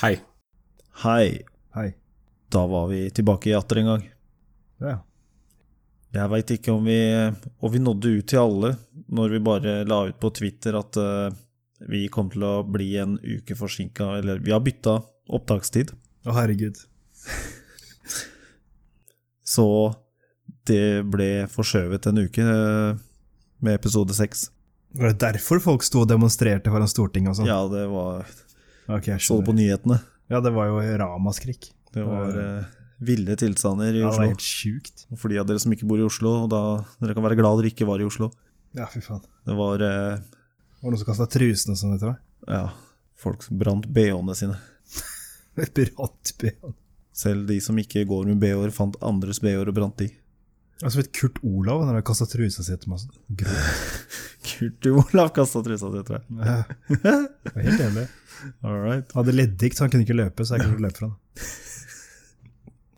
Hei. Hei. Hei. Da var vi tilbake i atter en gang. Ja. Jeg veit ikke om vi Og vi nådde ut til alle når vi bare la ut på Twitter at eh, vi kom til å bli en uke forsinka, eller vi har bytta opptakstid. Å, herregud. Så det ble forskjøvet en uke eh, med episode seks. Var det derfor folk sto og demonstrerte foran Stortinget og sånn? Ja, det var Ok, Så det jeg skjønner. på nyhetene. Ja, det var jo ramaskrik. Det var eh, ville tilstander i Ja, det var Oslo. helt sjukt. Og for de av dere som ikke bor i Oslo, og da dere kan være glad dere ikke var i Oslo. Ja, fy faen. Det var eh, Var det noen som kasta trusene og sånn etter meg? ja, folk som brant bh-ene sine. Piratben. Selv de som ikke går med bh-er, fant andres bh-er og brant de. Altså, vet Kurt Olav når han kasta trusa si etter meg og sånn. Gråt. Kurt Olav kasta trusa si, tror jeg. Ja. Jeg var Helt enig. All right. Han hadde leddgikt, så han kunne ikke løpe, så jeg kunne ikke løpe fra han.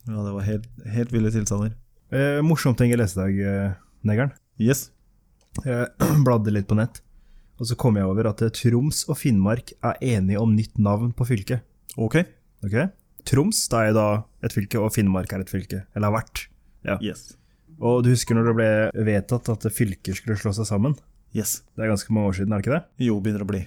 Ja, det var helt, helt ville tilstander. Eh, morsom ting jeg leste i dag, eh, Negeren. Yes. Jeg bladde litt på nett, og så kom jeg over at eh, Troms og Finnmark er enige om nytt navn på fylket. Ok. Ok? Troms det er jo da et fylke, og Finnmark er et fylke. Eller har vært. Yes. Og du husker når det ble vedtatt at fylker skulle slå seg sammen? Yes. Det er ganske mange år siden, er det ikke det? Jo, begynner å bli.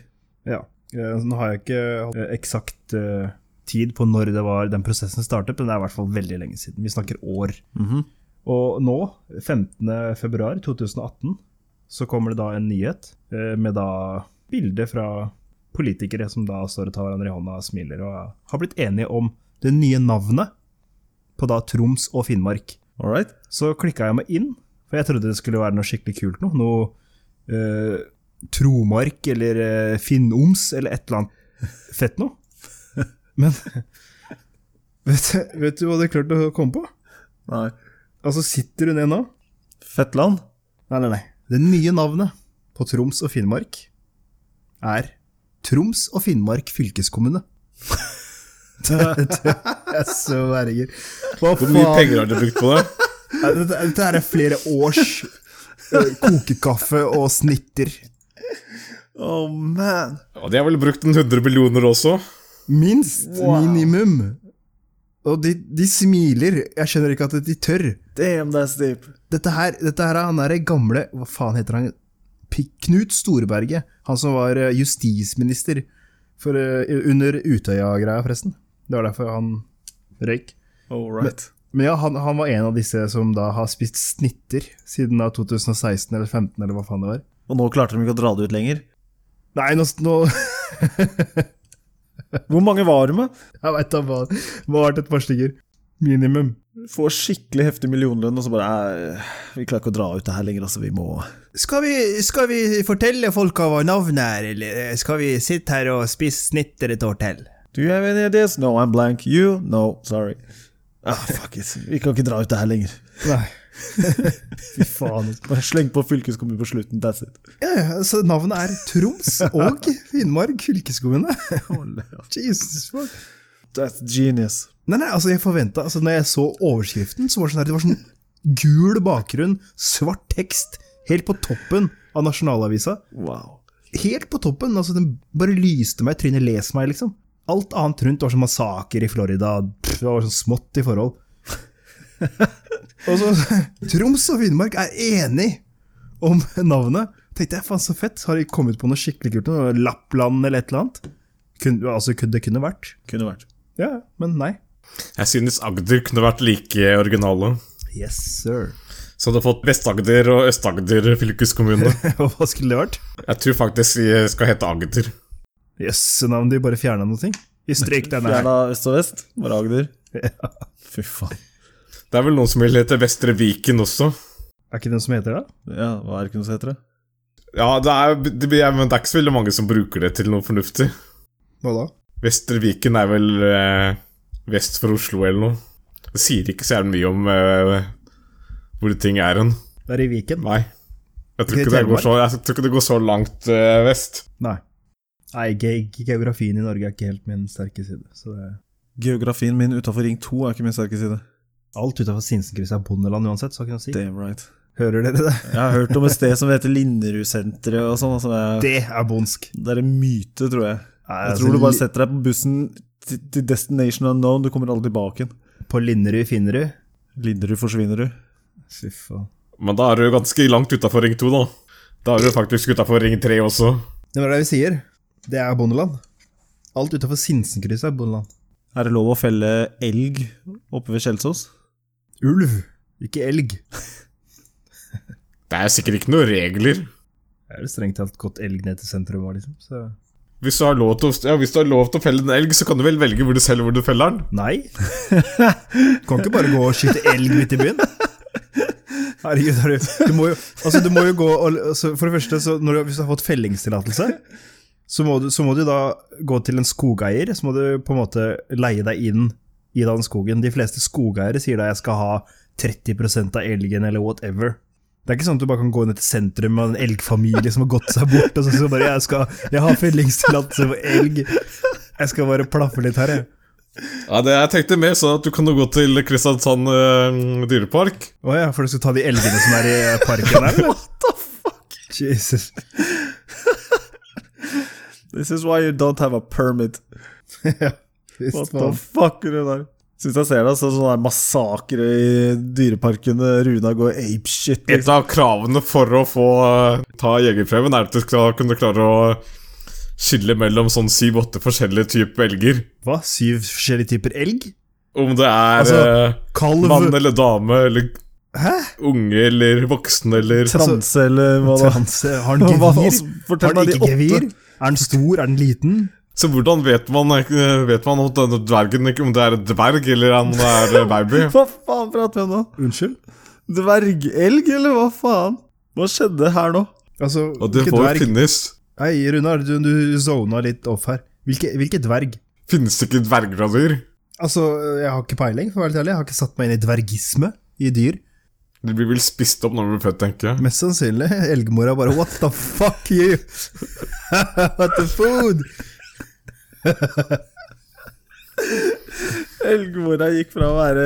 Ja. Eh, Nå har jeg ikke eh, eksakt eh, tid på når det var den prosessen startet, men det er i hvert fall veldig lenge siden. Vi snakker år. Mhm. Og nå, 15. februar 2018, så kommer det da en nyhet eh, med da bilder fra politikere som da står og tar hverandre i hånda og smiler, og har blitt enige om det nye navnet på da Troms og Finnmark. All right. Så klikka jeg meg inn, for jeg trodde det skulle være noe skikkelig kult noe. Noe eh, Tromark eller eh, Finnoms eller et eller annet fett noe. Men vet, du- vet du hva du klarte å komme på? Nei. Altså, sitter du ned nå? Fettland? Nei, nei, nei. Det nye navnet på Troms og Finnmark er Troms og Finnmark fylkeskommune. det, det er så verger. Hva Hvor mye penger har dere brukt på det? Nei, Dette, dette her er flere års eh, kokekaffe og snitter. Oh man. Ja, de har vel brukt en 100 millioner også. Minst. Minimum. Og de, de smiler. Jeg skjønner ikke at de tør. Damn, that's deep. Dette her, dette her er han derre gamle Hva faen heter han? P Knut Storberget. Han som var eh, justisminister for, eh, under Utøya-greia, forresten. Det var derfor han røyk. All right. Men ja, han, han var en av disse som da har spist snitter siden da 2016 eller 2015, eller hva faen det var. Og nå klarte de ikke å dra det ut lenger. Nei, nå, nå Hvor mange var det med? Jeg veit da hva. Hva har vært et par stykker? Minimum. Får skikkelig heftig millionlønn, og så bare eh, Vi klarer ikke å dra ut det her lenger, altså. Vi må Skal vi, fortelle folka hva navnet er, eller skal vi sitte her og spise snitter et år til? Do you have any ideas? No, I'm blank. You? No, sorry. Ah, fuck it. Vi kan ikke dra ut det her lenger. altså. Nei. Fy faen. Bare sleng på fylkeskommunen på slutten, that's it. Ja, ja, altså, navnet er Troms og Finnmark fylkeskommune. Jesus fuck. That's genius. Nei, nei, altså, jeg forventa altså, Når jeg så overskriften, så var det sånn her Det var sånn gul bakgrunn, svart tekst, helt på toppen av nasjonalavisa. Wow. helt på toppen. Altså, den bare lyste meg i trynet. Les meg, liksom. Alt annet rundt var sånn massaker i Florida. Pff, det var sånn smått i forhold. og så Troms og Finnmark er enig om navnet. Tenkte jeg, faen så fett. Har de kommet på noe skikkelig kult? Noe Lappland eller et eller annet? Kun, altså, kun- det kunne vært. Kunne vært. Ja, men nei. Jeg synes Agder kunne vært like originale. Yes, sir. Så hadde fått Vest-Agder og Øst-Agder fylkeskommune. Og Hva skulle det vært? Jeg tror faktisk de skal hete Agder. Jøsse yes, navn, de bare fjerna noe. De strøk den her. Fjerna øst og vest, bare Agder. Fy faen. Det er vel noen som vil hete Vestre Viken også. Er ikke den som heter det? Ja, hva er det ikke noe som heter det? Ja, det er, det, blir- men det er ikke så veldig mange som bruker det til noe fornuftig. Hva da? Vestre Viken er vel eh, vest for Oslo eller noe. Det sier ikke så jævlig mye om eh, hvor ting er hen. Det er i Viken. Nei. Jeg tror, Ikke i ikke det går så, jeg tror ikke det går så langt eh, vest. Nei. Nei, ge ge- geografien i Norge er ikke helt min sterke side. Så det er Geografien min utafor Ring 2 er ikke min sterke side. alt utenfor Sinsenkrysset er bondeland uansett, så kan jeg si. Damn right. Hører dere det? Jeg har hørt om et sted som heter Linderudsenteret og sånn. Altså, det, Det er bondsk. er- det er en myte, tror jeg. Nei, Jeg altså, tror du bare li- setter deg på bussen til til destination unknown, du kommer aldri tilbake igjen. På Linderud finner du. Linderud forsvinner du. Fy faen. Men da er du ganske langt utafor ring 2, da. Da er du faktisk utafor ring 3 også. Det var det vi sier. Det er bondeland. Alt utenfor Sinsenkrysset er bondeland. Er det lov å felle elg oppe ved Kjelsås? Ulv, ikke elg. Det er sikkert ikke noen regler. Det er det strengt talt gått elg ned til sentrum òg, liksom. Så Hvis du, har lov til å, ja, hvis du har lov til å felle en elg, så kan du vel velge hvor du selv hvor du feller den. nei. kan ikke bare gå og skyte elg midt i byen. Herregud, er du, du, må jo, altså, du må jo gå og altså, For det første, så når du, hvis du har fått fellingstillatelse, så, må du- så må du da gå til en skogeier. Så må du på en måte leie deg inn i den skogen. De fleste skogeiere sier da jeg skal ha 30 av elgen, eller whatever. Det er ikke sånn at du bare kan gå ned til sentrum med en elgfamilie som har gått seg bort, og så så bare jeg, skal, 'Jeg har fellingstillatelse for elg. Jeg skal bare plaffe litt her, jeg'. Ja, det Jeg tenkte mer sånn at du kan jo gå til Kristiansand eh, dyrepark. Å ja, for du skal ta de elgene som er i parken der, eller? What the fuck? Jesus. This is why you don't have a permit. ja, visst What the faen. fuck er det der? Syns jeg ser det, altså, sånn der massakre i dyreparkene. Runa går apeshit. liksom. Et av kravene for å få eh, ta jegerprøven er at du skal kunne klare å skille mellom sånn syv-åtte forskjellige typer elger. Hva? Syv forskjellige typer elg? Om det er Altså, eh, Kalv? mann eller dame eller Hæ? unge eller voksen eller altså, Transe, eller hva da? Transe? Har den Hva- gevir? altså, fortell Har den meg de ikke åtte. gevir? Er den stor? Er den liten? Så hvordan vet man, eh, vet man om denne dvergen ikke om det er en dverg eller om det er en baby? Hva faen prater vi om nå? Unnskyld? Dvergelg, eller hva faen? Hva skjedde her nå? Altså, Og det hvilke må jo dverg? finnes. Hei, Runar, du, du zona litt off her. Hvilke, hvilke dverg? Finnes det ikke dverger av dyr? Altså, jeg har ikke peiling, for å være litt ærlig. Jeg har ikke satt meg inn i dvergisme i dyr. De blir vel spist opp når de blir født, tenker jeg. Mest sannsynlig. Elgmora bare What the fuck you? What the food? Elgmora gikk fra å være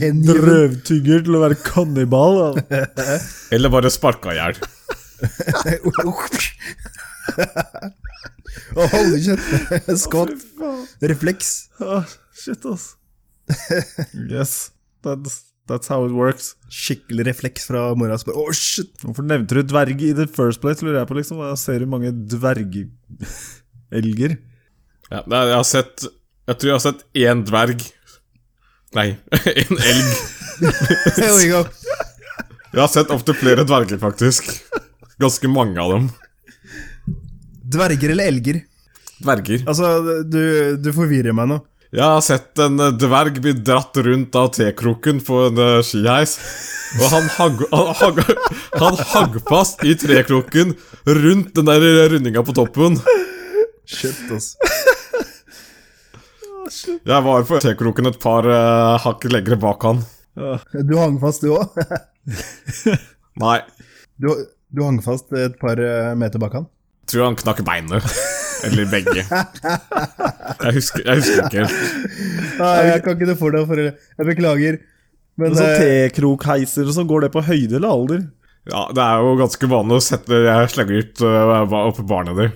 Hengiven. røvtygger til å være kannibal. da. Eller bare sparka i hjel. Å, Holy shit. Skott. Fy faen. Refleks. Ah, shit, ass. Yes, that's, that's how it works. Skikkelig refleks fra mora som bare Å, shit. Hvorfor nevnte du dverg i the first place, lurer jeg på, liksom? Jeg ser jo mange dvergelger. Ja, nei, jeg har sett Jeg tror jeg har sett én dverg. Nei, én elg. There we go. Jeg har sett opptil flere dverger, faktisk. Ganske mange av dem. Dverger eller elger? Dverger. Altså, du, du forvirrer meg nå. Jeg har sett en eh, dverg bli dratt rundt av tekroken på en eh, skiheis. Og han hagg, han, hagg, han hagg fast i trekroken rundt den der rundinga på toppen. Shit, ass. Jeg var på tekroken et par eh, hakk lenger bak han. Du hang fast, du òg. Nei, Du, du hang fast et par eh, meter bak han. tror han knakk beinet. Eller begge. Jeg husker, jeg husker ikke helt. Nei, jeg kan ikke det for deg, for jeg beklager. Men Sånn eh, tekrokheisere og sånn, går det på høyde eller alder? Ja, det er jo ganske vanlig å sette Jeg slenger ut øh, ba- opp barnet ditt.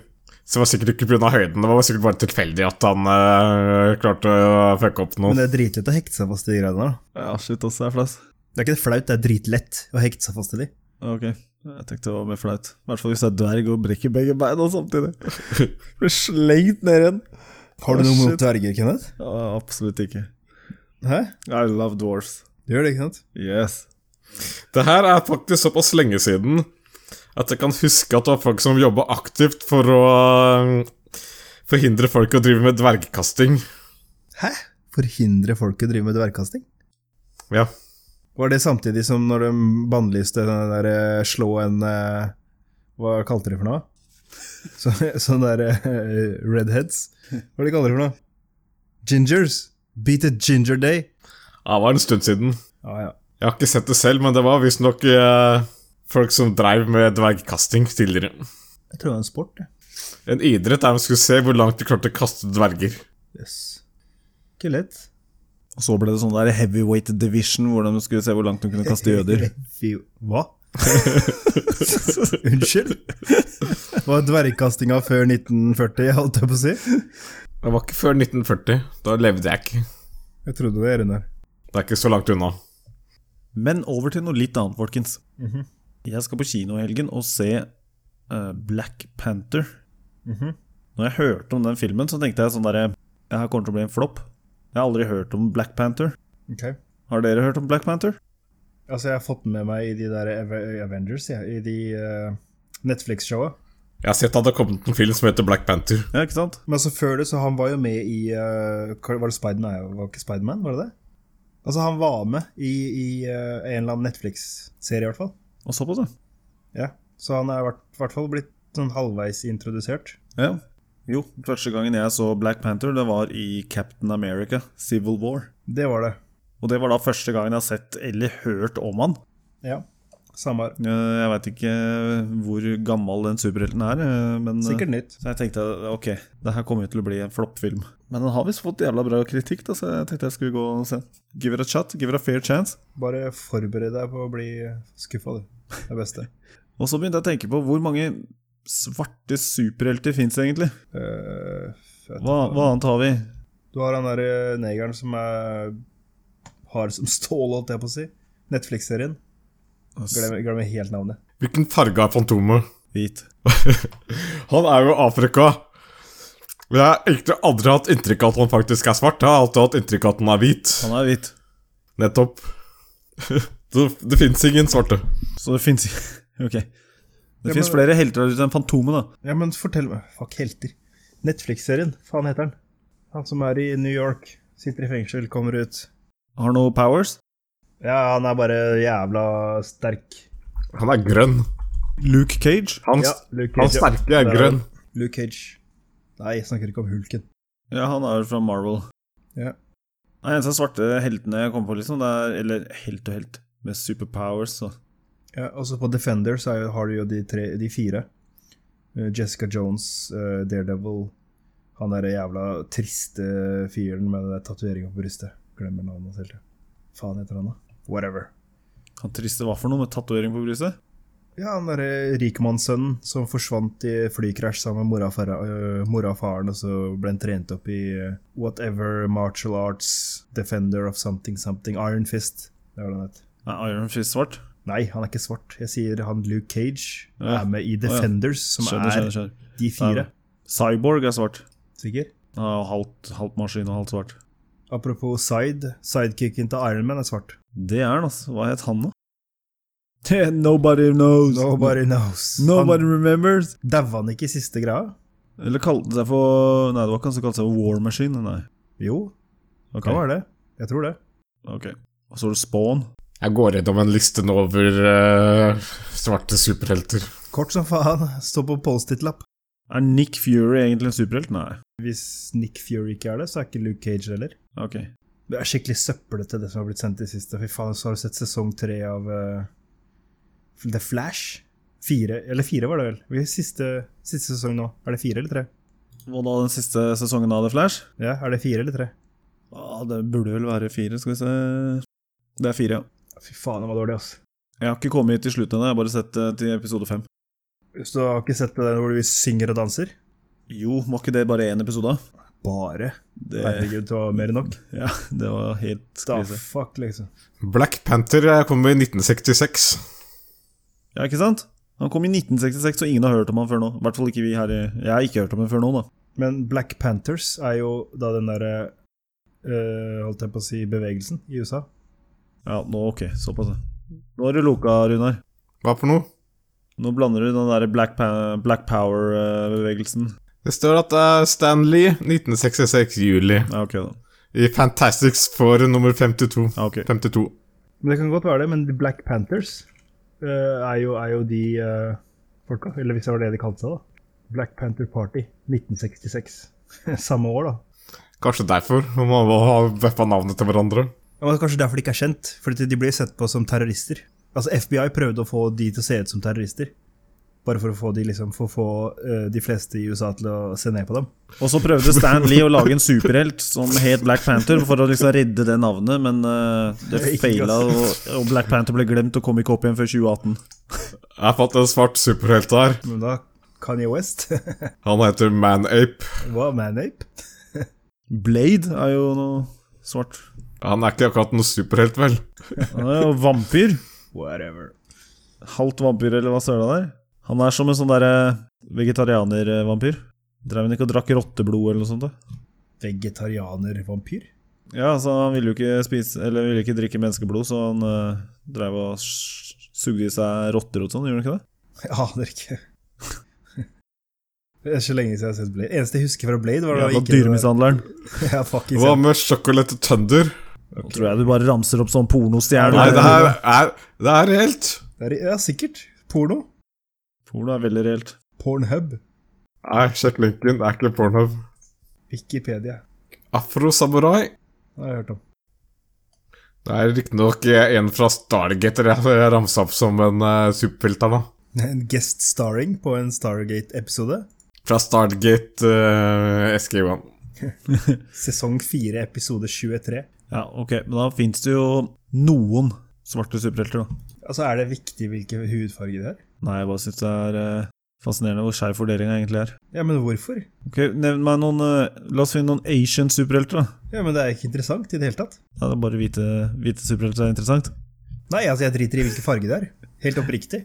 Så det var sikkert ikke pga. høyden, det var sikkert bare tilfeldig at han øh, klarte å fucke opp men noe. det er dritlett å hekte seg fast i de greiene der. da. Ja, shit, ass, det er flaut. Det er ikke flaut, det er dritlett å hekte seg fast i de. Ok, jeg tenkte det var mer flaut. I hvert fall hvis det er dverg og brekker begge beina samtidig. Blir slengt ned igjen. Har du Å, noe shit. mot dverger, Kenneth? Ja, absolutt ikke. Hæ? I love dwarfs. Du gjør det, ikke sant? Yes. Det her er faktisk såpass lenge siden at jeg kan huske at det var folk som jobba aktivt for å øh, forhindre folk å drive med dvergkasting. Hæ? Forhindre folk å drive med dvergkasting? Ja. Var det samtidig som når de bannlyste den der eh, slå en eh, Hva kalte de for noe? Så, sånn der eh, redheads? Hva er det de kaller de for noe? Gingers? Beat a ginger day? ja, det var en stund siden. Ja, ja. Jeg har ikke sett det selv, men det var visstnok øh, folk som dreiv med dvergkasting tidligere. Jeg tror det var en sport, jeg. En idrett der man skulle se hvor langt de klarte å kaste dverger. Jøss. Ikke lett. Og så ble det sånn der heavyweight division, hvor de skulle se hvor langt de kunne kaste jøder. Fy, hva? Unnskyld? Var dvergkastinga før 1940, holdt jeg på å si? Det var ikke før 1940. Da levde jeg ikke. Jeg trodde det, Runar. Det er ikke så langt unna. Men over til noe litt annet, folkens. Jeg skal på kino i helgen og se eh, Black Panther. Når jeg hørte om den filmen, så tenkte jeg sånn derre Det her kommer til å bli en flopp. Jeg har aldri hørt om Black Panther. Ok. Har dere hørt om Black Panther? Altså, jeg har fått med meg i de der Ave- Avengers, jeg, i de eh, Netflix-showa. Jeg har sett at det har kommet en film som heter Black Panther. Ja, ikke sant? Men altså, før det, så han var jo med i eh, hva- Var det Spiderman? Nei, Var ikke Spiderman, var det det? Altså, han var med i, i eh, en eller annen Netflix-serie, i hvert fall. Og såpass, ja. Ja. Så han er i hvert- i hvert fall blitt sånn halvveis introdusert. ja. Jo, første gangen jeg så Black Panther, det var i Captain America, Civil War. Det var det. Og det var da første gangen jeg har sett eller hørt om han. Ja. Samme her. Eh, Jeg veit ikke eh, hvor gammel den superhelten er, eh, men eh, Sikkert nytt. Så jeg tenkte ok, det her kommer jo til å bli en floppfilm. Men den har visst fått jævla bra kritikk, da, så jeg tenkte jeg skulle gå og se. Give it a shot, give it a fair chance. Bare forbered deg på å bli skuffa, du. Det er det beste. Og så begynte jeg å tenke på hvor mange svarte superhelter fins egentlig? Eh, jeg Hva, hva annet har vi? Du har han derre negeren som er hard som stål, holdt jeg på å si. Netflix-serien. Glemmer, glemmer helt navnet. Hvilken farge har Fantomet? Hvit. Han er jo Afrika. Men Jeg har egentlig aldri hatt inntrykk av at han faktisk er svart. Jeg har alltid hatt inntrykk av at han er hvit. Han er hvit. Nettopp. Det, det fins ingen svarte. Så det fins Ok. Det Ja, fins men- flere helter enn Fantomet, da. Ja, men fortell meg Fuck, helter. Netflix-serien, faen heter den. Han som er i New York, sitter i fengsel, kommer ut. Har noe powers. Ja, han er bare jævla sterk. Han er grønn. Luke Cage. Han, Ja, Luke han Cage, ja. sterke Der er er grønn. Luke Cage. Nei, jeg snakker ikke om hulken. Ja, han er jo fra Marvel. Ja. Den eneste svarte heltene jeg kommer på, liksom, det er Eller helt og helt, med superpowers, så Ja, også på Defender så er, jo- har du jo de, tre, de fire. Eh, Jessica Jones, eh, Daredevil Han derre jævla triste fyren med den der tatoveringa på brystet. Glemmer navnet hans hele tida. Faen heter han, da. Whatever. Han triste hva for noe med tatovering på brystet? Ja, han derre rikmannssønnen som forsvant i flykrasj sammen med mora og fara- øh, mora og faren, og så ble han trent opp i eh, whatever martial arts, defender of something something, Iron Fist. Det var det han het. Er Iron Fist svart? Nei, han er ikke svart. Jeg sier han Luke Cage Ja. er med i Defenders, som Skjønner, er skjønner, skjønner. De fire. Ja. Cyborg er svart. Sikker? Han er Halvt, halvt maskin og halvt svart. Apropos side, sidekicken til Iron Man er svart. Det er han, altså. Hva het han, da? Nobody knows. Nobody knows. Nobody Han remembers. Daua han ikke i siste greia? Eller kalte seg for Nei, det var ikke han som kalte seg for War Machine. Nei. Jo, Ok. kan være det. Jeg tror det. Ok. Og så var det Spawn. Jeg går gjennom en liste nå over eh, svarte superhelter. Kort som faen. Står på post-it-lapp. Er Nick Fury egentlig en superhelt? Nei. Hvis Nick Fury ikke er det, så er ikke Luke Cage heller. Ok. Det er skikkelig søppelete, det som har blitt sendt i siste. Fy faen, så har du sett sesong tre av eh, The Flash? Fire, eller fire var det vel? Vi er i Siste, siste sesong nå. Er det fire eller tre? Hva da den siste sesongen av The Flash? Ja, er det fire eller tre? Ah, det burde vel være fire, skal vi se. Det er fire, ja. Fy faen, det var dårlig, ass. Jeg har ikke kommet til slutten ennå, jeg har bare sett eh, til episode fem. Så har ikke sett det der hvor vi synger og danser? Jo, var ikke det bare én episode? Bare. Det, Herregud, det var mer enn nok. ja, det var helt Da, krise. fuck, liksom. Black Panther eh, kom i 1966. Ja, ikke sant? Han kom i 1966, og ingen har hørt om han før nå. I hvert fall ikke vi her i Jeg har ikke hørt om han før nå, da. Men Black Panthers er jo da den derre øh, Holdt jeg på å si bevegelsen i USA. Ja, nå ok, såpass. ja. Nå har du loka, Runar. Hva for noe? Nå blander du den derre Black, pa Black eh, Power-bevegelsen. Det står at det er Stan Lee, 1966 juli. Ja, ok, da. I Fantastics for nummer 52. Ja, ok. 52. Men Det kan godt være det, men de Black Panthers øh, er, jo, er jo de øh, folka. Eller hvis det var det de kalte seg, da. Black Panther Party 1966. Samme år, da. Kanskje derfor. Man må ha veppa navnet til hverandre. Ja, men det er Kanskje derfor de ikke er kjent. Fordi de blir sett på som terrorister. Altså FBI prøvde å få de til å se ut som terrorister. Bare for å få de, liksom, for å få, øh, de fleste i USA til å se ned på dem. Og så prøvde Stan Lee å lage en superhelt som het Black Panther, for å liksom redde det navnet, men eh, det Det gikk ikke, feila, altså. og, og Black Panther ble glemt og kom ikke opp igjen før 2018. Jeg fant en svart superhelt her. Men da Kanye West Han heter Manape. var manape. Blade er jo noe svart. Han er ikke akkurat noen superhelt, vel? Han er jo vampyr. Whatever. Halvt vampyr, eller hva søla der. Han er som en sånn derre vegetarianervampyr. Drev han ikke og drakk rotteblod eller noe sånt? da? Vegetarianervampyr? Ja, altså han ville jo ikke spise Eller ville ikke drikke menneskeblod, så han eh, drev og s- sugde i seg rotter og sånn, gjorde han ikke det? Jeg aner ikke. Det er så lenge siden jeg har sett Blade. Eneste jeg husker fra Blade, var da Jævla gikk inn- dyremishandleren. Ja, fucking Hva sant. med Chocolate Thunder? Nå tror jeg du bare ramser opp sånn pornostjerne. Nei, det her er Det er reelt. Det er- Ja, sikkert. Porno. Porno er veldig reelt. Pornhub. Nei, sjekk linken. Det er ikke Pornhub. Wikipedia. Afro Samurai. Det har jeg hørt om. Det er riktignok eh, en fra Stargater jeg ramsa opp som en uh, superhelt her, da. En guest starring på en Stargate-episode. Fra Stargate eh, SG1. Sesong 4, episode 23. Ja, ok, men da fins det jo noen svarte superhelter, da. Altså, er det viktig hvilken hudfarge det er? Nei, jeg bare syns det er eh, fascinerende hvor skeiv fordelinga egentlig er. Ja, men hvorfor? Ok, Nevn meg noen eh, La oss finne noen Asian superhelter, da. Ja, men det er ikke interessant i det hele tatt. Ja, det er bare hvite, hvite superhelter er interessant. Nei, altså, jeg driter i hvilken farge det er. Helt oppriktig.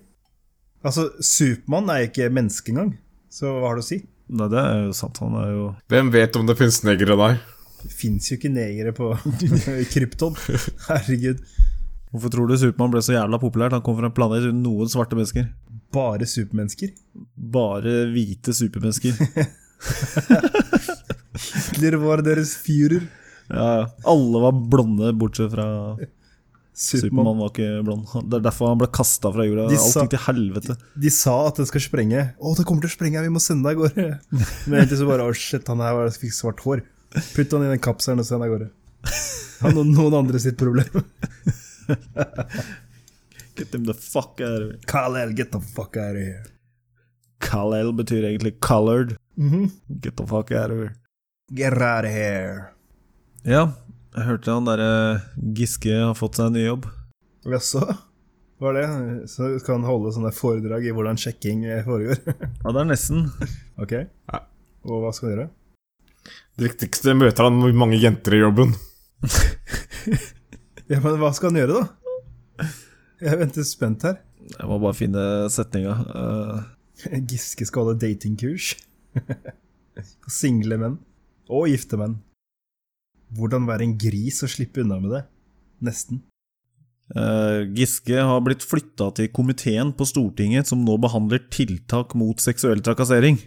Altså, Supermann er jo ikke menneske engang, så hva har det å si? Nei, det er jo sant. Han er jo Hvem vet om det finnes negere der? Det fins jo ikke negere på i Krypton. Herregud. Hvorfor tror du Supermann ble så jævla populært? Han kom fra en planet uten noen svarte mennesker. Bare supermennesker. Bare hvite supermennesker. Hitler var deres fyrer. Ja, ja. Alle var blonde, bortsett fra Supermann. Supermann var ikke blond. Han- Det er derfor han ble kasta fra jorda. De Alt sa- gikk til helvete. De sa at den skal sprenge. Å, det kommer til å sprenge, vi må sende deg av gårde. Men egentlig så bare Å, shit, han her var- fikk svart hår. Putt han i den kapselen og send av gårde. Han og noen andre sitt problem. Get them the fuck out of here. Kal-El, get the fuck out of here. Kal-El betyr egentlig colored. Mhm. Get the fuck out of here. Get out of here. Ja, jeg hørte han derre Giske har fått seg en ny jobb. Jaså? Var det? Så skal han holde sånne foredrag i hvordan sjekking eh, foregår. Ja, det er nesten. Ok? Ja. Og hva skal han gjøre? Det viktigste møter han mange jenter i jobben. Ja, men hva skal han gjøre, da? Jeg venter spent her. Jeg må bare finne setninga. Eh, Giske skal holde datingkurs. Single menn. Og gifte menn. Hvordan være en gris og slippe unna med det. Nesten. eh, Giske har blitt flytta til komiteen på Stortinget som nå behandler tiltak mot seksuell trakassering.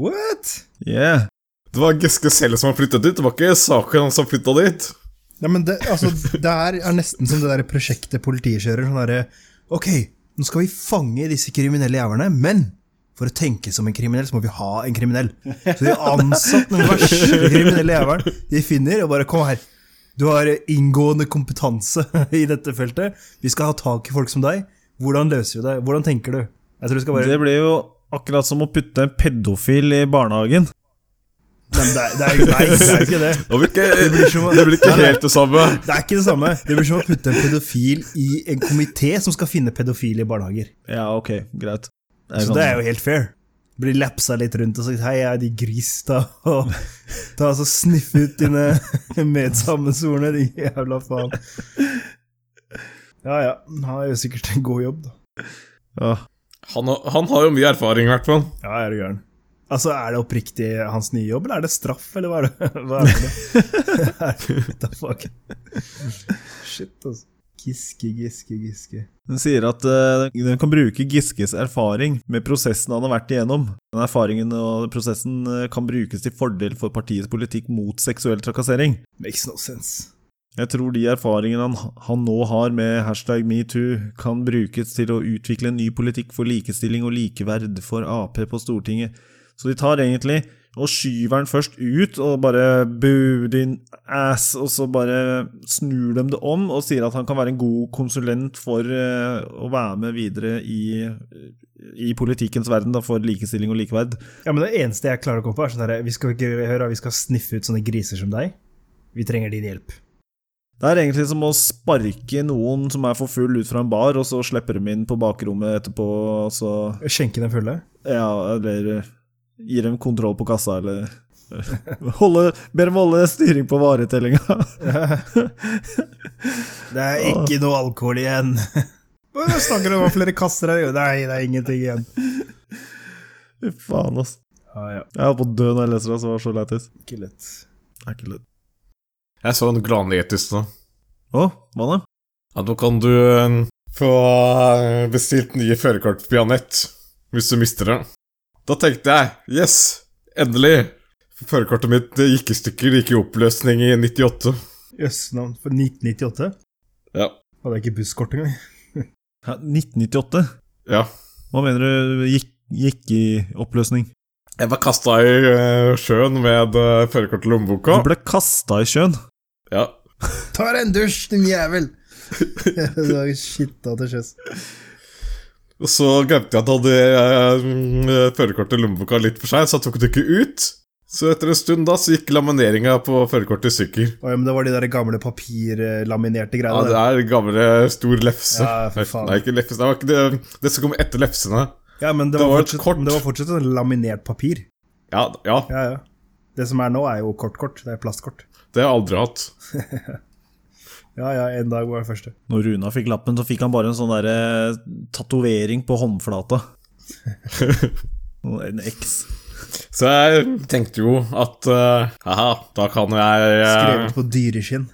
What?! Yeah. Det var Giske selv som har flytta dit, det var ikke saken han som flytta dit. Nei, men det, altså, det her er nesten som det der prosjektet politiet kjører. Sånn derre Ok, nå skal vi fange disse kriminelle jævlene, men for å tenke som en kriminell, så må vi ha en kriminell. Så de har ansatt den verste kriminelle jævelen de finner, og bare Kom her. Du har inngående kompetanse i dette feltet. Vi skal ha tak i folk som deg. Hvordan løser vi det? Hvordan tenker du? Jeg tror du skal bare Det blir jo akkurat som å putte en pedofil i barnehagen. Nei, men det, er- det, er, nei, det er ikke det. Det blir ikke, blir som- det blir ikke Nei, nei. helt det samme. Det er ikke det samme. Det blir som å putte en pedofil i en komité som skal finne pedofile i barnehager. Ja, ok, greit. Så det er sånn- jo helt fair. Blir lapsa litt rundt og sagt 'hei, jeg er de gris', da. Og ta og så sniffe ut dine medsammensvorne, de jævla faen. Ja ja, han gjør sikkert en god jobb, da. ja. Han, har- han har jo mye erfaring, i hvert fall. Ja, er du gæren. Altså, er det oppriktig hans nye jobb, eller er det straff, eller hva er det? Hva er det? What the fuck? Shit, altså. Giske, giske, giske. Den sier at eh, den kan bruke Giskes erfaring med prosessen han har vært igjennom. Den erfaringen og prosessen eh, kan brukes til fordel for partiets politikk mot seksuell trakassering. Makes no sense. Jeg tror de erfaringene han, han nå har med hashtag metoo, kan brukes til å utvikle en ny politikk for likestilling og likeverd for Ap på Stortinget. Så de tar egentlig og skyver den først ut og bare boo din ass, og så bare snur de det om og sier at han kan være en god konsulent for eh, å være med videre i, i politikkens verden da, for likestilling og likeverd. Ja, men Det eneste jeg klarer å komme på, er sånn der, vi skal ikke høre, vi skal sniffe ut sånne griser som deg. Vi trenger din hjelp. Det er egentlig som å sparke noen som er for full ut fra en bar, og så slipper de inn på bakrommet etterpå, og så Skjenke den fulle. Ja, eller gir dem kontroll på kassa, eller Holde, ber om å holde styring på varetellinga. Det er ikke noe alkohol igjen. Hva snakker du om? Hva Flere kasser her? Jo, Nei, det er ingenting igjen. Fy faen, ass. Ah, ja. Jeg holdt på å dø når jeg leser det, så det var så lættis. Ikke lett. Det er ikke lett. Jeg så en gladnyhet i stad. Å, hva da? Ja, nå kan du eh, få eh, bestilt nye førerkort via nett hvis du mister det. Da tenkte jeg yes, endelig. Førerkortet mitt eh, gikk i stykker, gikk i oppløsning i 98. Jøssenavn. For 1998 Ja. hadde jeg ikke busskort engang. Hæ, 1998? ja. Hva mener du gikk, gikk i oppløsning? Jeg var kasta i eh, sjøen med uh, førerkortet i Du lommeboka. ble kasta i sjøen. Ja. Ta deg en dusj, din jævel! Du har skitta til sjøs. Og så glemte jeg at jeg hadde eh, førerkortet i lommeboka litt for seg, så jeg tok det ikke ut. Så etter en stund da, så gikk lamineringa på førerkortet i stykker. Å, ja, men det var de der gamle papirlaminerte Ja, greiene. det er gamle, stor lefse. Ja, for faen. Nei, ikke lefse, det var ikke det, det som kom etter lefsene. der. ja, men det, det var var et fortsatt, kort. det var fortsatt en laminert papir. Ja, ja, Ja, ja. Det som er nå, er jo kortkort. Det er plastkort. det har jeg aldri hatt. Ja, ja, en dag var det første. Når Runa fikk lappen, så fikk han bare en sånn der, eh, tatovering på håndflata. En X. Så jeg tenkte jo at eh, haha, da kan jeg eh, Skrevet på dyreskinn.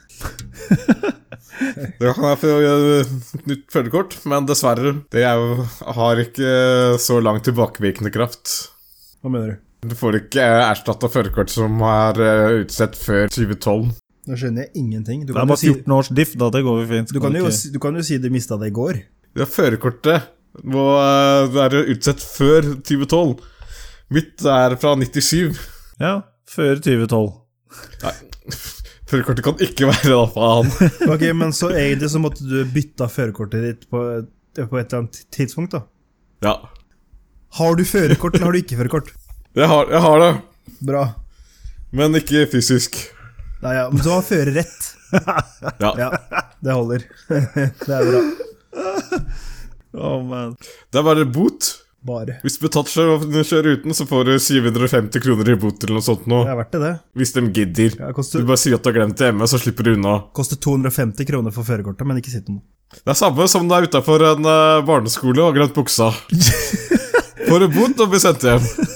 Da kan jeg få eh, et nytt følgekort, men dessverre. Det er jo, har ikke eh, så lang tilbakevirkende kraft. Hva mener du? Du får ikke erstatta førerkort som er eh, utstedt før 2012. Nå skjønner jeg ingenting. Du Det er kan, bare jo si, 14 års diff, da. Det går vel fint. du kan, jo, ikke- si- du kan jo si du mista det i går. Ja, førerkortet må eh, være utstedt før 2012. Mitt er fra 97. Ja, før 2012. Førerkortet kan ikke være da, faen. Ok, Men så egentlig så måtte du bytte av førerkortet ditt på, på et eller annet tidspunkt, da. Ja, Har du førerkort, eller har du ikke førerkort? jeg har, jeg har det. Bra. Men ikke fysisk. Nei, ja, men du har førerrett. Ja. Ja, det holder. Det er bra. Å, man. Det er bare bot. Bare. Hvis Butatsja kjører uten, så får du 750 kroner i bot eller noe sånt nå. Det er verdt det, det. Hvis de gidder. Ja, det Du koster, bare sier at du har glemt det hjemme, så slipper du unna. koster 250 kroner for førerkortet, men ikke sitt noe. Det er samme som det er utafor en eh, barneskole og grønt buksa. Får du bot og blir sendt hjem.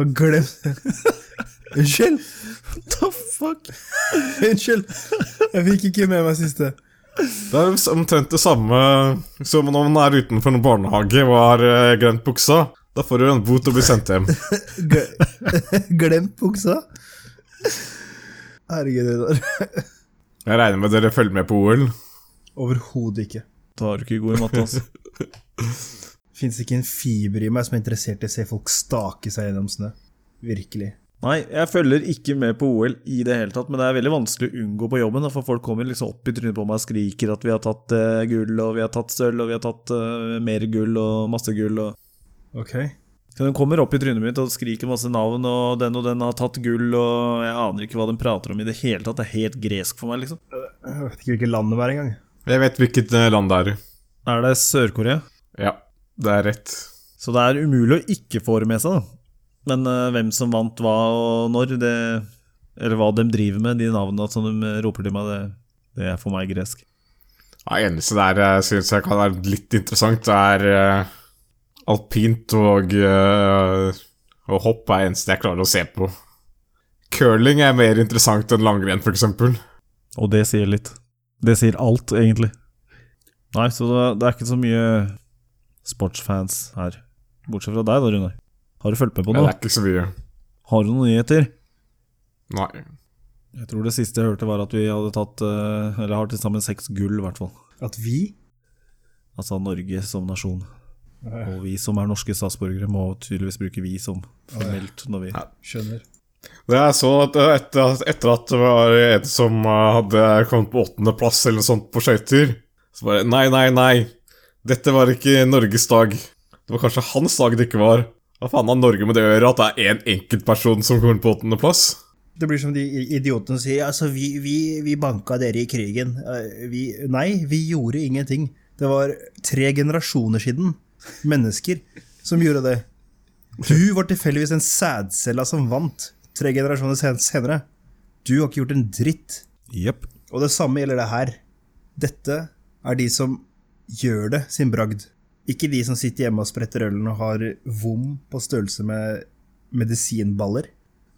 Har glemt Unnskyld! The fuck? Unnskyld! Jeg fikk ikke med meg siste. Det er omtrent det samme som når man er utenfor en barnehage og har eh, grønt buksa. Da får du en bot og blir sendt hjem. Gle- Glemt buksa? Herregud, Reidar. Jeg regner med dere følger med på OL. Overhodet ikke. Da er du ikke god i matte, altså. Fins ikke en fiber i meg som er interessert i å se folk stake seg gjennom snø. Virkelig. Nei, jeg følger ikke med på OL i det hele tatt, men det er veldig vanskelig å unngå på jobben. da, For folk kommer liksom opp i trynet på meg og skriker at vi har tatt eh, gull, og vi har tatt sølv, og vi har tatt eh, mer gull, og masse gull, og Ok. Så den kommer opp i trynet mitt og skriker masse navn, og den og den har tatt gull, og jeg aner ikke hva den prater om i det hele tatt. Det er helt gresk for meg, liksom. Jeg vet ikke hvilket land det var engang. Jeg vet hvilket eh, land det er i. Er det Sør-Korea? Ja, det er rett. Så det er umulig å ikke få det med seg, da. Men eh, hvem som vant hva og når, det Eller hva de driver med, de navnene som de roper til meg, det, det er for meg gresk. Ja, eneste der jeg syns jeg kan være litt interessant, er eh, alpint og, eh, og hopp er eneste jeg klarer å se på. Curling er mer interessant enn langrenn, for eksempel. Og det sier litt. Det sier alt, egentlig. Nei, så det, det er ikke så mye sportsfans her. Bortsett fra deg, da, Runar. Har du fulgt med på Det er noe? ikke så mye. Har du noen nyheter? Nei. Jeg tror det siste jeg hørte var at vi hadde tatt eh, Eller har til sammen seks gull, i hvert fall. At vi Altså Norge som nasjon. Og vi som er norske statsborgere, må tydeligvis bruke 'vi' som formelt når vi Skjønner. Det jeg så at eh, etter, etter at det var en som eh, hadde kommet på åttendeplass eller noe sånt på skøyter, så bare Nei, nei, nei. Dette var ikke Norges dag. Det var kanskje hans dag det ikke var. Hva faen har Norge med det å gjøre, at det er én enkeltperson som kommer på åttendeplass? Det blir som de idiotene sier. Altså, vi, vi, vi banka dere i krigen. Eh, Vi, nei, vi gjorde ingenting. Det var tre generasjoner siden mennesker som gjorde det. Du var tilfeldigvis den sædcella som vant tre generasjoner sen- senere. Du har ikke gjort en dritt. Jepp. Og det samme gjelder det her. Dette er de som gjør det sin bragd. Ikke de som sitter hjemme og spretter ølen og har vom på størrelse med medisinballer.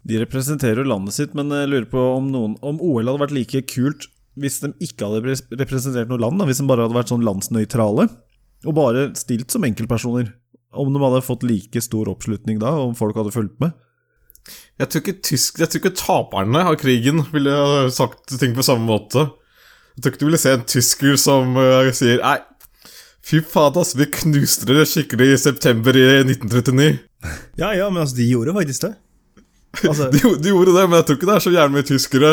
De representerer jo landet sitt, men jeg lurer på om, noen, om OL hadde vært like kult hvis de ikke hadde repres- representert noe land, da, hvis de bare hadde vært sånn landsnøytrale, og bare stilt som enkeltpersoner. Om de hadde fått like stor oppslutning da, om folk hadde fulgt med. Jeg tror ikke, tysk, jeg tror ikke taperne av krigen ville ha sagt ting på samme måte. Jeg tror ikke du ville se en tysker som eh, sier Nei, fy faen, ass, vi knuste dere skikkelig i september i 1939. Ja, ja, men altså, de gjorde faktisk det. Altså, De, gjo- de gjorde det, men jeg tror ikke det er så jævlig mye tyskere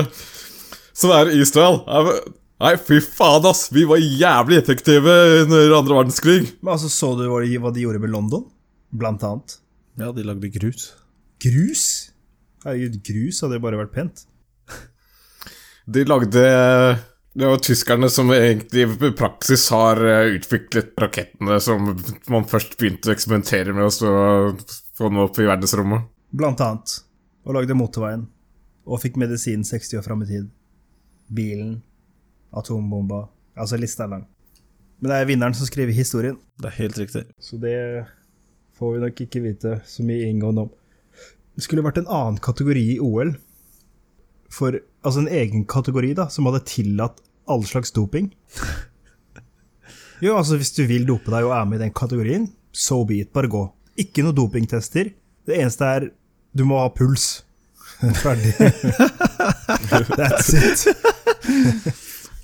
som er i Israel. Nei, men- Nei, fy faen, ass, vi var jævlig effektive under andre verdenskrig. men altså, så du hva de, hva de gjorde med London? Blant annet. Ja, de lagde grus. Grus? Herregud, grus hadde jo bare vært pent. De lagde Det var tyskerne som egentlig i praksis har eh, utviklet rakettene som man først begynte å eksperimentere med, og så få dem opp i verdensrommet. Blant annet. Og lagde motorveien. Og fikk medisin 60 år fram i tid. Bilen. Atombomba. Altså, lista er lang. Men det er vinneren som skriver historien. Det er helt riktig. Så det får vi nok ikke vite så mye inngående om. Det skulle vært en annen kategori i OL. For, altså en egen kategori da, som hadde tillatt all slags doping. Jo, altså hvis du vil dope deg og er med i den kategorien, so be it, bare gå. Ikke noe dopingtester. Det eneste er, du må ha puls. Ferdig. That's it.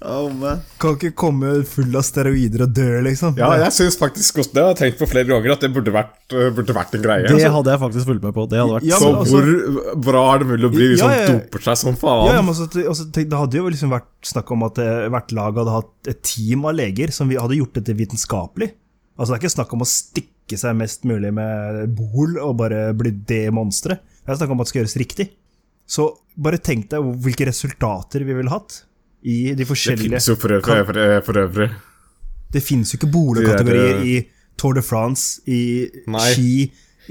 Oh, man. Kan ikke komme full av steroider og dø, liksom. Ja, jeg syns faktisk også det. Jeg har tenkt på flere ganger at det burde vært, eh, burde vært en greie. Det Så- hadde jeg faktisk fulgt med på. Det hadde vært Ja, så men altså- hvor bra er det mulig å bli hvis Ja, man ja, ja. doper seg som faen? Ja, ja, men også, også, tenk, Det hadde jo liksom vært snakk om at eh, hvert lag hadde hatt et team av leger som vi hadde gjort dette vitenskapelig. Altså Det er ikke snakk om å stikke seg mest mulig med bol og bare bli det monsteret. Det er snakk om at det skal gjøres riktig. Så bare tenk deg hvor- hvilke resultater vi ville hatt i de det forskjellige fins jo for øvrig. Kan- For, eh, for, for øvrig. det finnes jo ikke bolekategorier i Tour de France, i Nei. ski,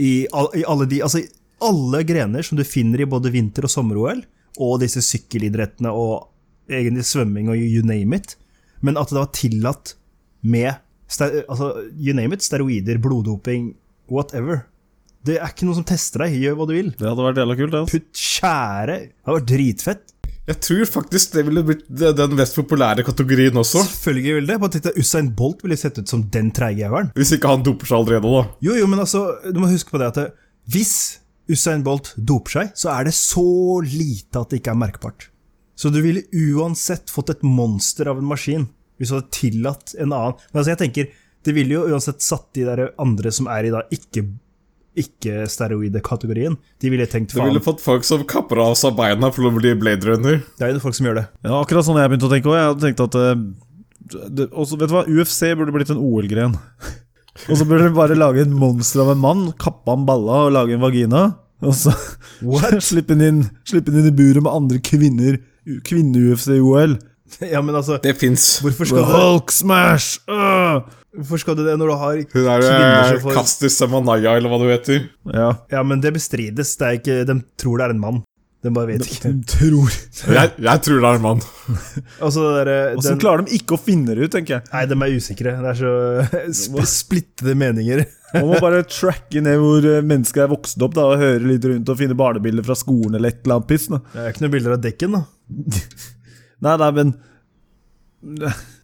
i, al i alle de Altså, i alle grener som du finner i både vinter- og sommer-OL, og disse sykkelidrettene og egentlig svømming og you name it. Men at det var tillatt med ste- altså, you name it, steroider, bloddoping, whatever. Det er ikke noen som tester deg. Gjør hva du vil. Det hadde vært jævla kult. Altså. Putt tjære. Det hadde vært dritfett. Jeg tror faktisk det ville blitt de- den mest populære kategorien også. Selvfølgelig ville det. Bare tenk deg Usain Bolt ville sett ut som den treige jævelen. Hvis ikke han doper seg allerede, da. Jo, jo, men altså, du må huske på det at det, hvis Usain Bolt doper seg, så er det så lite at det ikke er merkbart. Så du ville uansett fått et monster av en maskin hvis du hadde tillatt en annen. Men altså, jeg tenker, det ville jo uansett satt de der andre som er i da ikke ikke-steroide-kategorien. De ville tenkt Det faen, ville fått folk som kapper av seg beina for å bli Blade Runner. det er jo folk som gjør det. Ja, akkurat sånn jeg begynte å tenke òg. Jeg hadde tenkt at eh, det, også, Vet du hva, UFC burde blitt en OL-gren. Og så burde du bare lage et monster av en mann, kappe han balla og lage en vagina. Og så slippe han inn, slippe han inn i buret med andre kvinner. U- Kvinne-UFC-OL. ja, men altså, Det fins. hvorfor skal, det, Hulk smash! øh! hvorfor skal du det når du har Hun er kvinner som eh, får Kastis Samanaya, eller hva du heter. Ja. Ja, men det bestrides. Det er ikke, de tror det er en mann. De bare vet ikke. Tror Jeg, jeg tror det er en mann. Altså, det derre- Og så den- klarer de ikke å finne det ut, tenker jeg. Nei, de er usikre. Det er så sp splittede meninger. Man må bare tracke ned hvor eh, mennesket er vokst opp, da, og høre litt rundt og finne barnebilder fra skolen eller et eller annet piss. Da. Det er ikke noen bilder av dekken, da. Nei, nei, men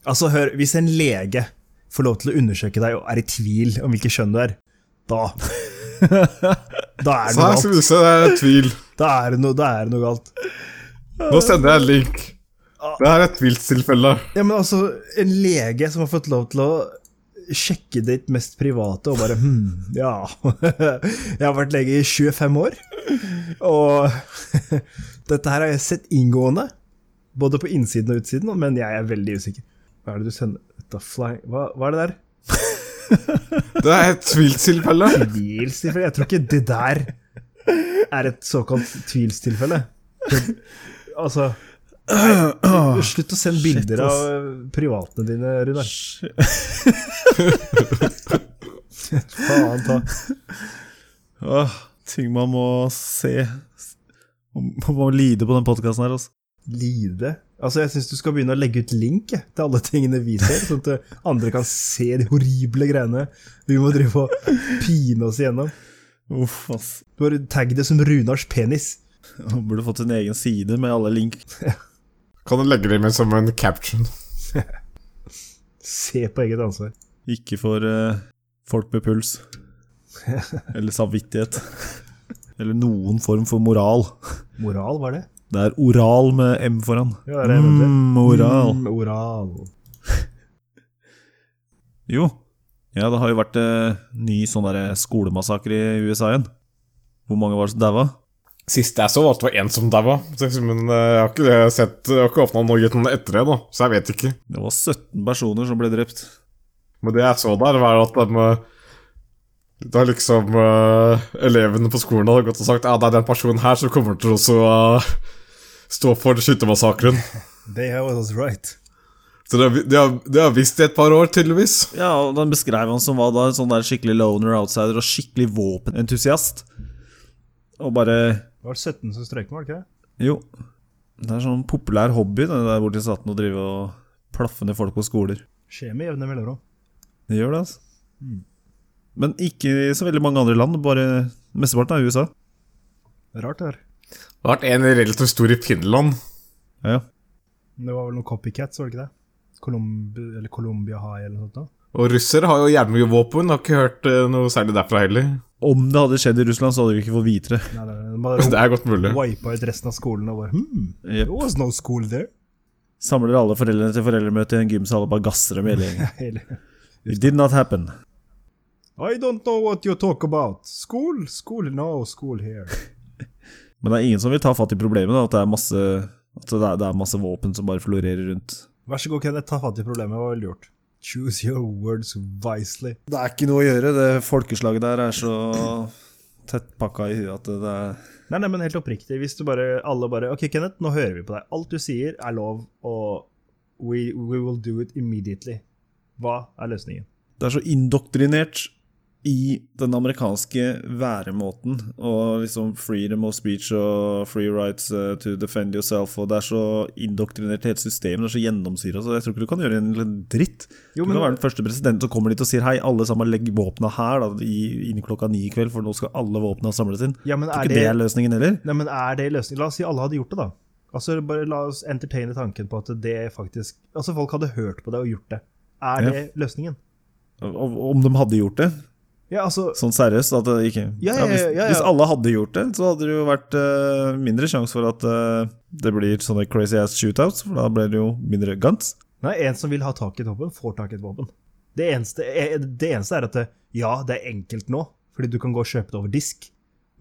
Altså, hør, Hvis en lege får lov til å undersøke deg og er i tvil om hvilket kjønn du er, da Da er det Så noe her galt. skal vi se, det er tvil. Da er det noe, da er det noe galt. Nå sender jeg en link. Det her er et tvilstilfelle. Ja, men altså, En lege som har fått lov til å sjekke ditt mest private og bare Hm, ja. Jeg har vært lege i 25 år, og dette her har jeg sett inngående. Både på innsiden og utsiden, men jeg er veldig usikker. Hva er det du sender Dette fly... Hva, hva er det der? Det er et tvilstilfelle. Tvilstilfelle? Jeg tror ikke det der er et såkalt tvilstilfelle. Det- Altså nei, Slutt å sende bilder ass. av eh, privatene dine, Runar. Faen ta. Åh, ting man må se. Man må lide på den podkasten her, altså. Lide. Altså, Jeg syns du skal begynne å legge ut link jeg, til alle tingene vi ser, sånn at eh, andre kan se de horrible greiene vi må drive og pine oss igjennom. Uff, ass. Bare tagg det som Runars penis. Han burde fått sin egen side med alle link. Kan du legge det med som en caption? Se på eget ansvar. Ikke for eh, folk med puls. Eller samvittighet. Eller noen form for moral. Moral, var det? Det er oral med M foran. Ja, det er det, vet du. Mm, oral. Mm, oral. Jo. Ja, det har jo vært eh, ny sånn der skolemassakre i USA igjen. Hvor mange var det som daua? Sist jeg så, var at det var én som daua. Så jeg- Men eh, jeg har ikke sett Jeg har ikke åpna noe etter det, da, så jeg vet ikke. Det var 17 personer som ble drept. Men det jeg så der, var at de eh, Da liksom eh, elevene på skolen hadde gått og sagt Ja, det er den personen her som kommer til å også, eh, stå for skyttermassakren. They have us right. Så det, har vi- det, har, det har visst i et par år, tydeligvis. Ja, og Den beskrev han som var da en sånn der skikkelig loner outsider og skikkelig våpenentusiast. Og bare Det var 17 som strøyk med, var det ikke det? Jo. Det er sånn populær hobby det der borte i staten å drive og plaffe ned folk på skoler. Skjer med jevne mellomrom. Det gjør det, altså. Men ikke i så veldig mange andre land, bare mesteparten er i USA. Rart det her. Det har vært en relativt stor i Finland. Ja, ja. Det var vel noen copycats, var det ikke det? Colomb eller Colombia High eller noe sånt. da. Og russere har jo gjerne mye våpen. Har ikke hørt eh, noe særlig derfra heller. Om det hadde skjedd i Russland, så hadde vi ikke fått vite det. Nei, nei, nei, Det bare er godt mulig. wipa ut resten av skolen og bare hmm, Jep. there was no school there. Samler alle foreldrene til foreldremøte i en gymsal og bare gasser dem hele gjengen. Eller, It did not happen. I don't know what you talk about. School? School? No, school here. Men det er ingen som vil ta fatt i problemet, da, at det er masse, at det er, det er masse våpen som bare florerer rundt. Vær så god, Kenneth, ta fatt i problemet. Hva ville du gjort? Choose your words wisely. Det er ikke noe å gjøre. Det folkeslaget der er så tettpakka i huet at det er Nei, nei, men helt oppriktig. Hvis du bare, alle bare Ok, Kenneth, nå hører vi på deg. Alt du sier, er lov, og we, we will do it immediately. Hva er løsningen? Det er så indoktrinert i den amerikanske væremåten og liksom freedom of speech og free rights eh, to defend yourself, og det er så indoktrinert i hele systemet, det er så gjennomsyra, så jeg tror ikke du kan gjøre en liten dritt. du Jo, men- kan være den første presidenten som kommer dit og sier hei, alle sammen legg våpna her da, i, inn klokka ni i kveld, for nå skal alle våpna samles inn. Ja, men tror er ikke det... det- er løsningen heller. Nei, men er det løsningen? La oss si alle hadde gjort det, da. Altså, bare La oss entertaine tanken på at det faktisk Altså, folk hadde hørt på det og gjort det. Er Ja. det løsningen? Om om de hadde gjort det, Ja, altså sånn seriøst at det ikke Ja, ja, ja, hvis, ja, ja. hvis alle hadde gjort det, så hadde det jo vært eh, mindre sjanse for at eh, det blir sånne crazy ass shootouts, for da blir det jo mindre guns. Nei, en som vil ha tak i et våpen, får tak i et våpen. Det eneste, eh, det eneste er at det, ja, det er enkelt nå, fordi du kan gå og kjøpe det over disk.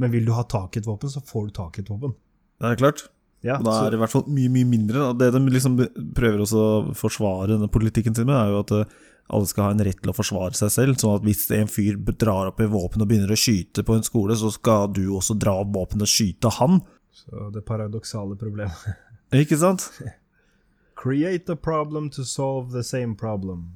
Men vil du ha tak i et våpen, så får du tak i et våpen. Det er klart. Ja, Og da så- er det i hvert fall mye, mye mindre. da. Det de liksom prøver også å forsvare denne politikken sin med, er jo at eh, alle skal ha en rett til å forsvare seg selv. Sånn at hvis en fyr drar opp i våpen og begynner å skyte på en skole, så skal du også dra opp våpen og skyte han. så det paradoksale problemet. Ikke sant? Create a problem to solve the same problem.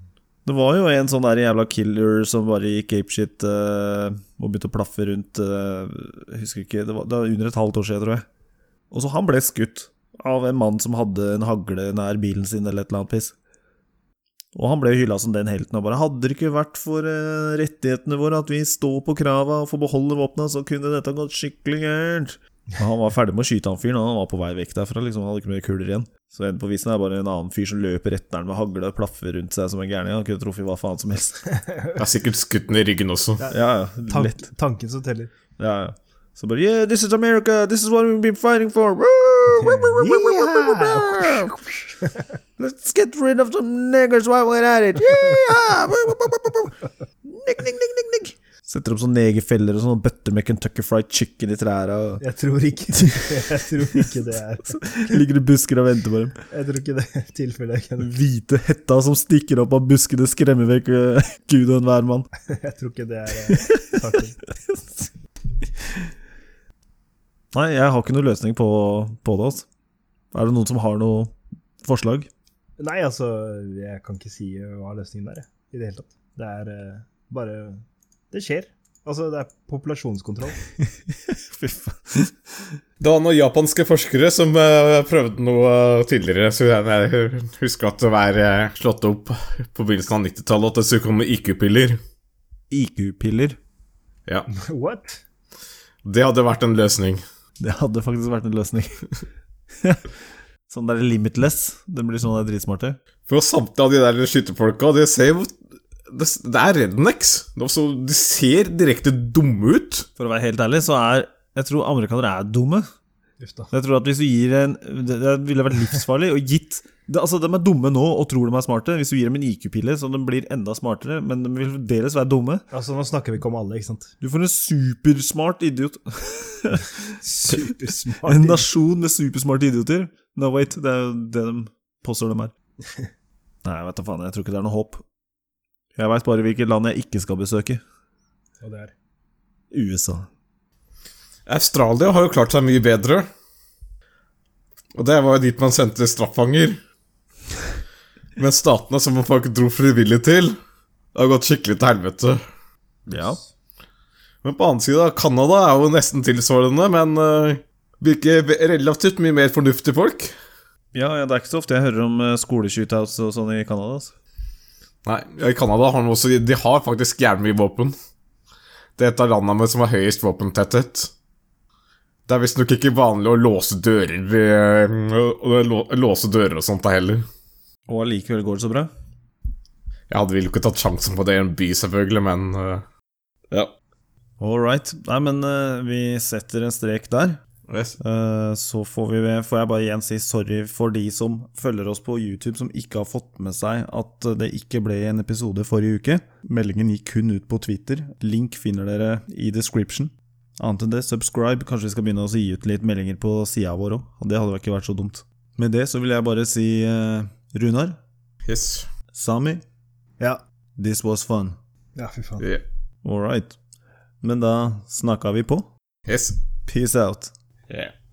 Det var jo en sånn der jævla killer som bare gikk apeshit eh, og begynte å plaffe rundt eh, Jeg husker ikke, det var, det var under et halvt år siden, tror jeg. Og så han ble skutt av en mann som hadde en hagle nær bilen sin eller et eller annet piss. Og han ble jo hylla som den helten og bare Hadde det ikke vært for eh, rettighetene våre, at vi står på krava og får beholde våpna, så kunne dette gått skikkelig gærent. Og Han var ferdig med å skyte han fyren, og han var på vei vekk derfra. liksom, Han hadde ikke mer kuler igjen. Så enden på visen er bare en annen fyr som løper etter han med hagle og plaffer rundt seg som en gærning. Han kunne truffet hva faen som helst. Jeg har sikkert skutt den i ryggen også. Ja, ja, Tank, lett. tanken som teller. Ja, ja. Så bare Yeah, this is America! This is what we've been fighting for! Woo! Woo, woo, woo, woo, woo, woo, woo, woo. Let's get rid of some niggers while we're at it! Yeah! Woo, woo, woo, woo, woo, woo. Nick, nick, nick, nick, nick. Setter opp sånne negerfeller og sånne bøtter med Kentucky Fried Chicken i trærne. og Jeg tror ikke, jeg tror ikke det er Ligger i busker og venter på dem. Jeg tror ikke det er tilfellet. Kenneth. Mm. Hvite hetta som stikker opp av buskene, skremmer vekk øh, gud og enhver mann. Jeg tror ikke det er eh, tanken. Nei, jeg har ikke noen løsning på, på det. Altså. Er det noen som har noe forslag? Nei, altså, jeg kan ikke si eh, hva løsningen er, jeg, i det hele tatt. Det er eh, bare Det skjer. Altså, det er populasjonskontroll. Fy faen. Det var noen japanske forskere som eh, prøvde noe eh, tidligere, så jeg jeg husker at det var eh, slått opp på begynnelsen av 90-tallet at det skulle komme IQ-piller. IQ-piller. Ja, What? det hadde vært en løsning. Det hadde faktisk vært en løsning. sånn der limitless. Den blir sånn der dritsmarte. For samtlige av de der skytterfolka, de ser jo Det, det er rednecks. Det er så- De ser direkte dumme ut. For å være helt ærlig, så er Jeg tror amerikanere er dumme. Uff da. Jeg tror at hvis du gir en Det det ville vært livsfarlig. Og gitt det, Altså, de er dumme nå og tror de er smarte. Hvis du gir dem en IQ-pille, så de blir enda smartere, men de vil fremdeles være dumme. Altså, nå snakker vi ikke om alle, ikke sant? Du får en supersmart idiot. Supersmart. En nasjon med supersmarte idioter. No wait, det er jo det de påstår de er. Nei, vet du faen, jeg tror ikke det er noe håp. Jeg veit bare hvilket land jeg ikke skal besøke. Og det er. USA. Australia har jo klart seg mye bedre. Og det var jo dit man sendte straffanger. Men statene som folk dro frivillig til, det har gått skikkelig til helvete. Ja. Men på annen side, Canada er jo nesten tilsvarende, men eh, virker ve- relativt mye mer fornuftige folk. ja, ja, det er ikke så ofte jeg hører om eh, skoleshootouts og sånn i Canada. Altså. Nei, i Canada har de også De har faktisk jævlig mye våpen. Det er et av landene med som har høyest våpentetthet. Det er visstnok ikke vanlig å låse dører eh, å lå- Låse dører og sånt da heller. Og allikevel går det så bra. Jeg hadde vel ikke tatt sjansen på det i en by, selvfølgelig, men eh, Ja. All right. Nei, men eh, vi setter en strek der. Yes. Eh, Så får, vi, får jeg bare igjen si sorry for de som følger oss på YouTube som ikke har fått med seg at det ikke ble en episode forrige uke. Meldingen gikk kun ut på Twitter. Link finner dere i description. Annet enn det, subscribe. Kanskje vi skal begynne å gi ut litt meldinger på sida vår òg. Det hadde vel ikke vært så dumt. Med det så vil jeg bare si eh, Runar, yes. Sami, Ja. this was fun. ja, fy faen. Yeah. All right. Men da snakka vi på. Yes. Peace out. Yeah.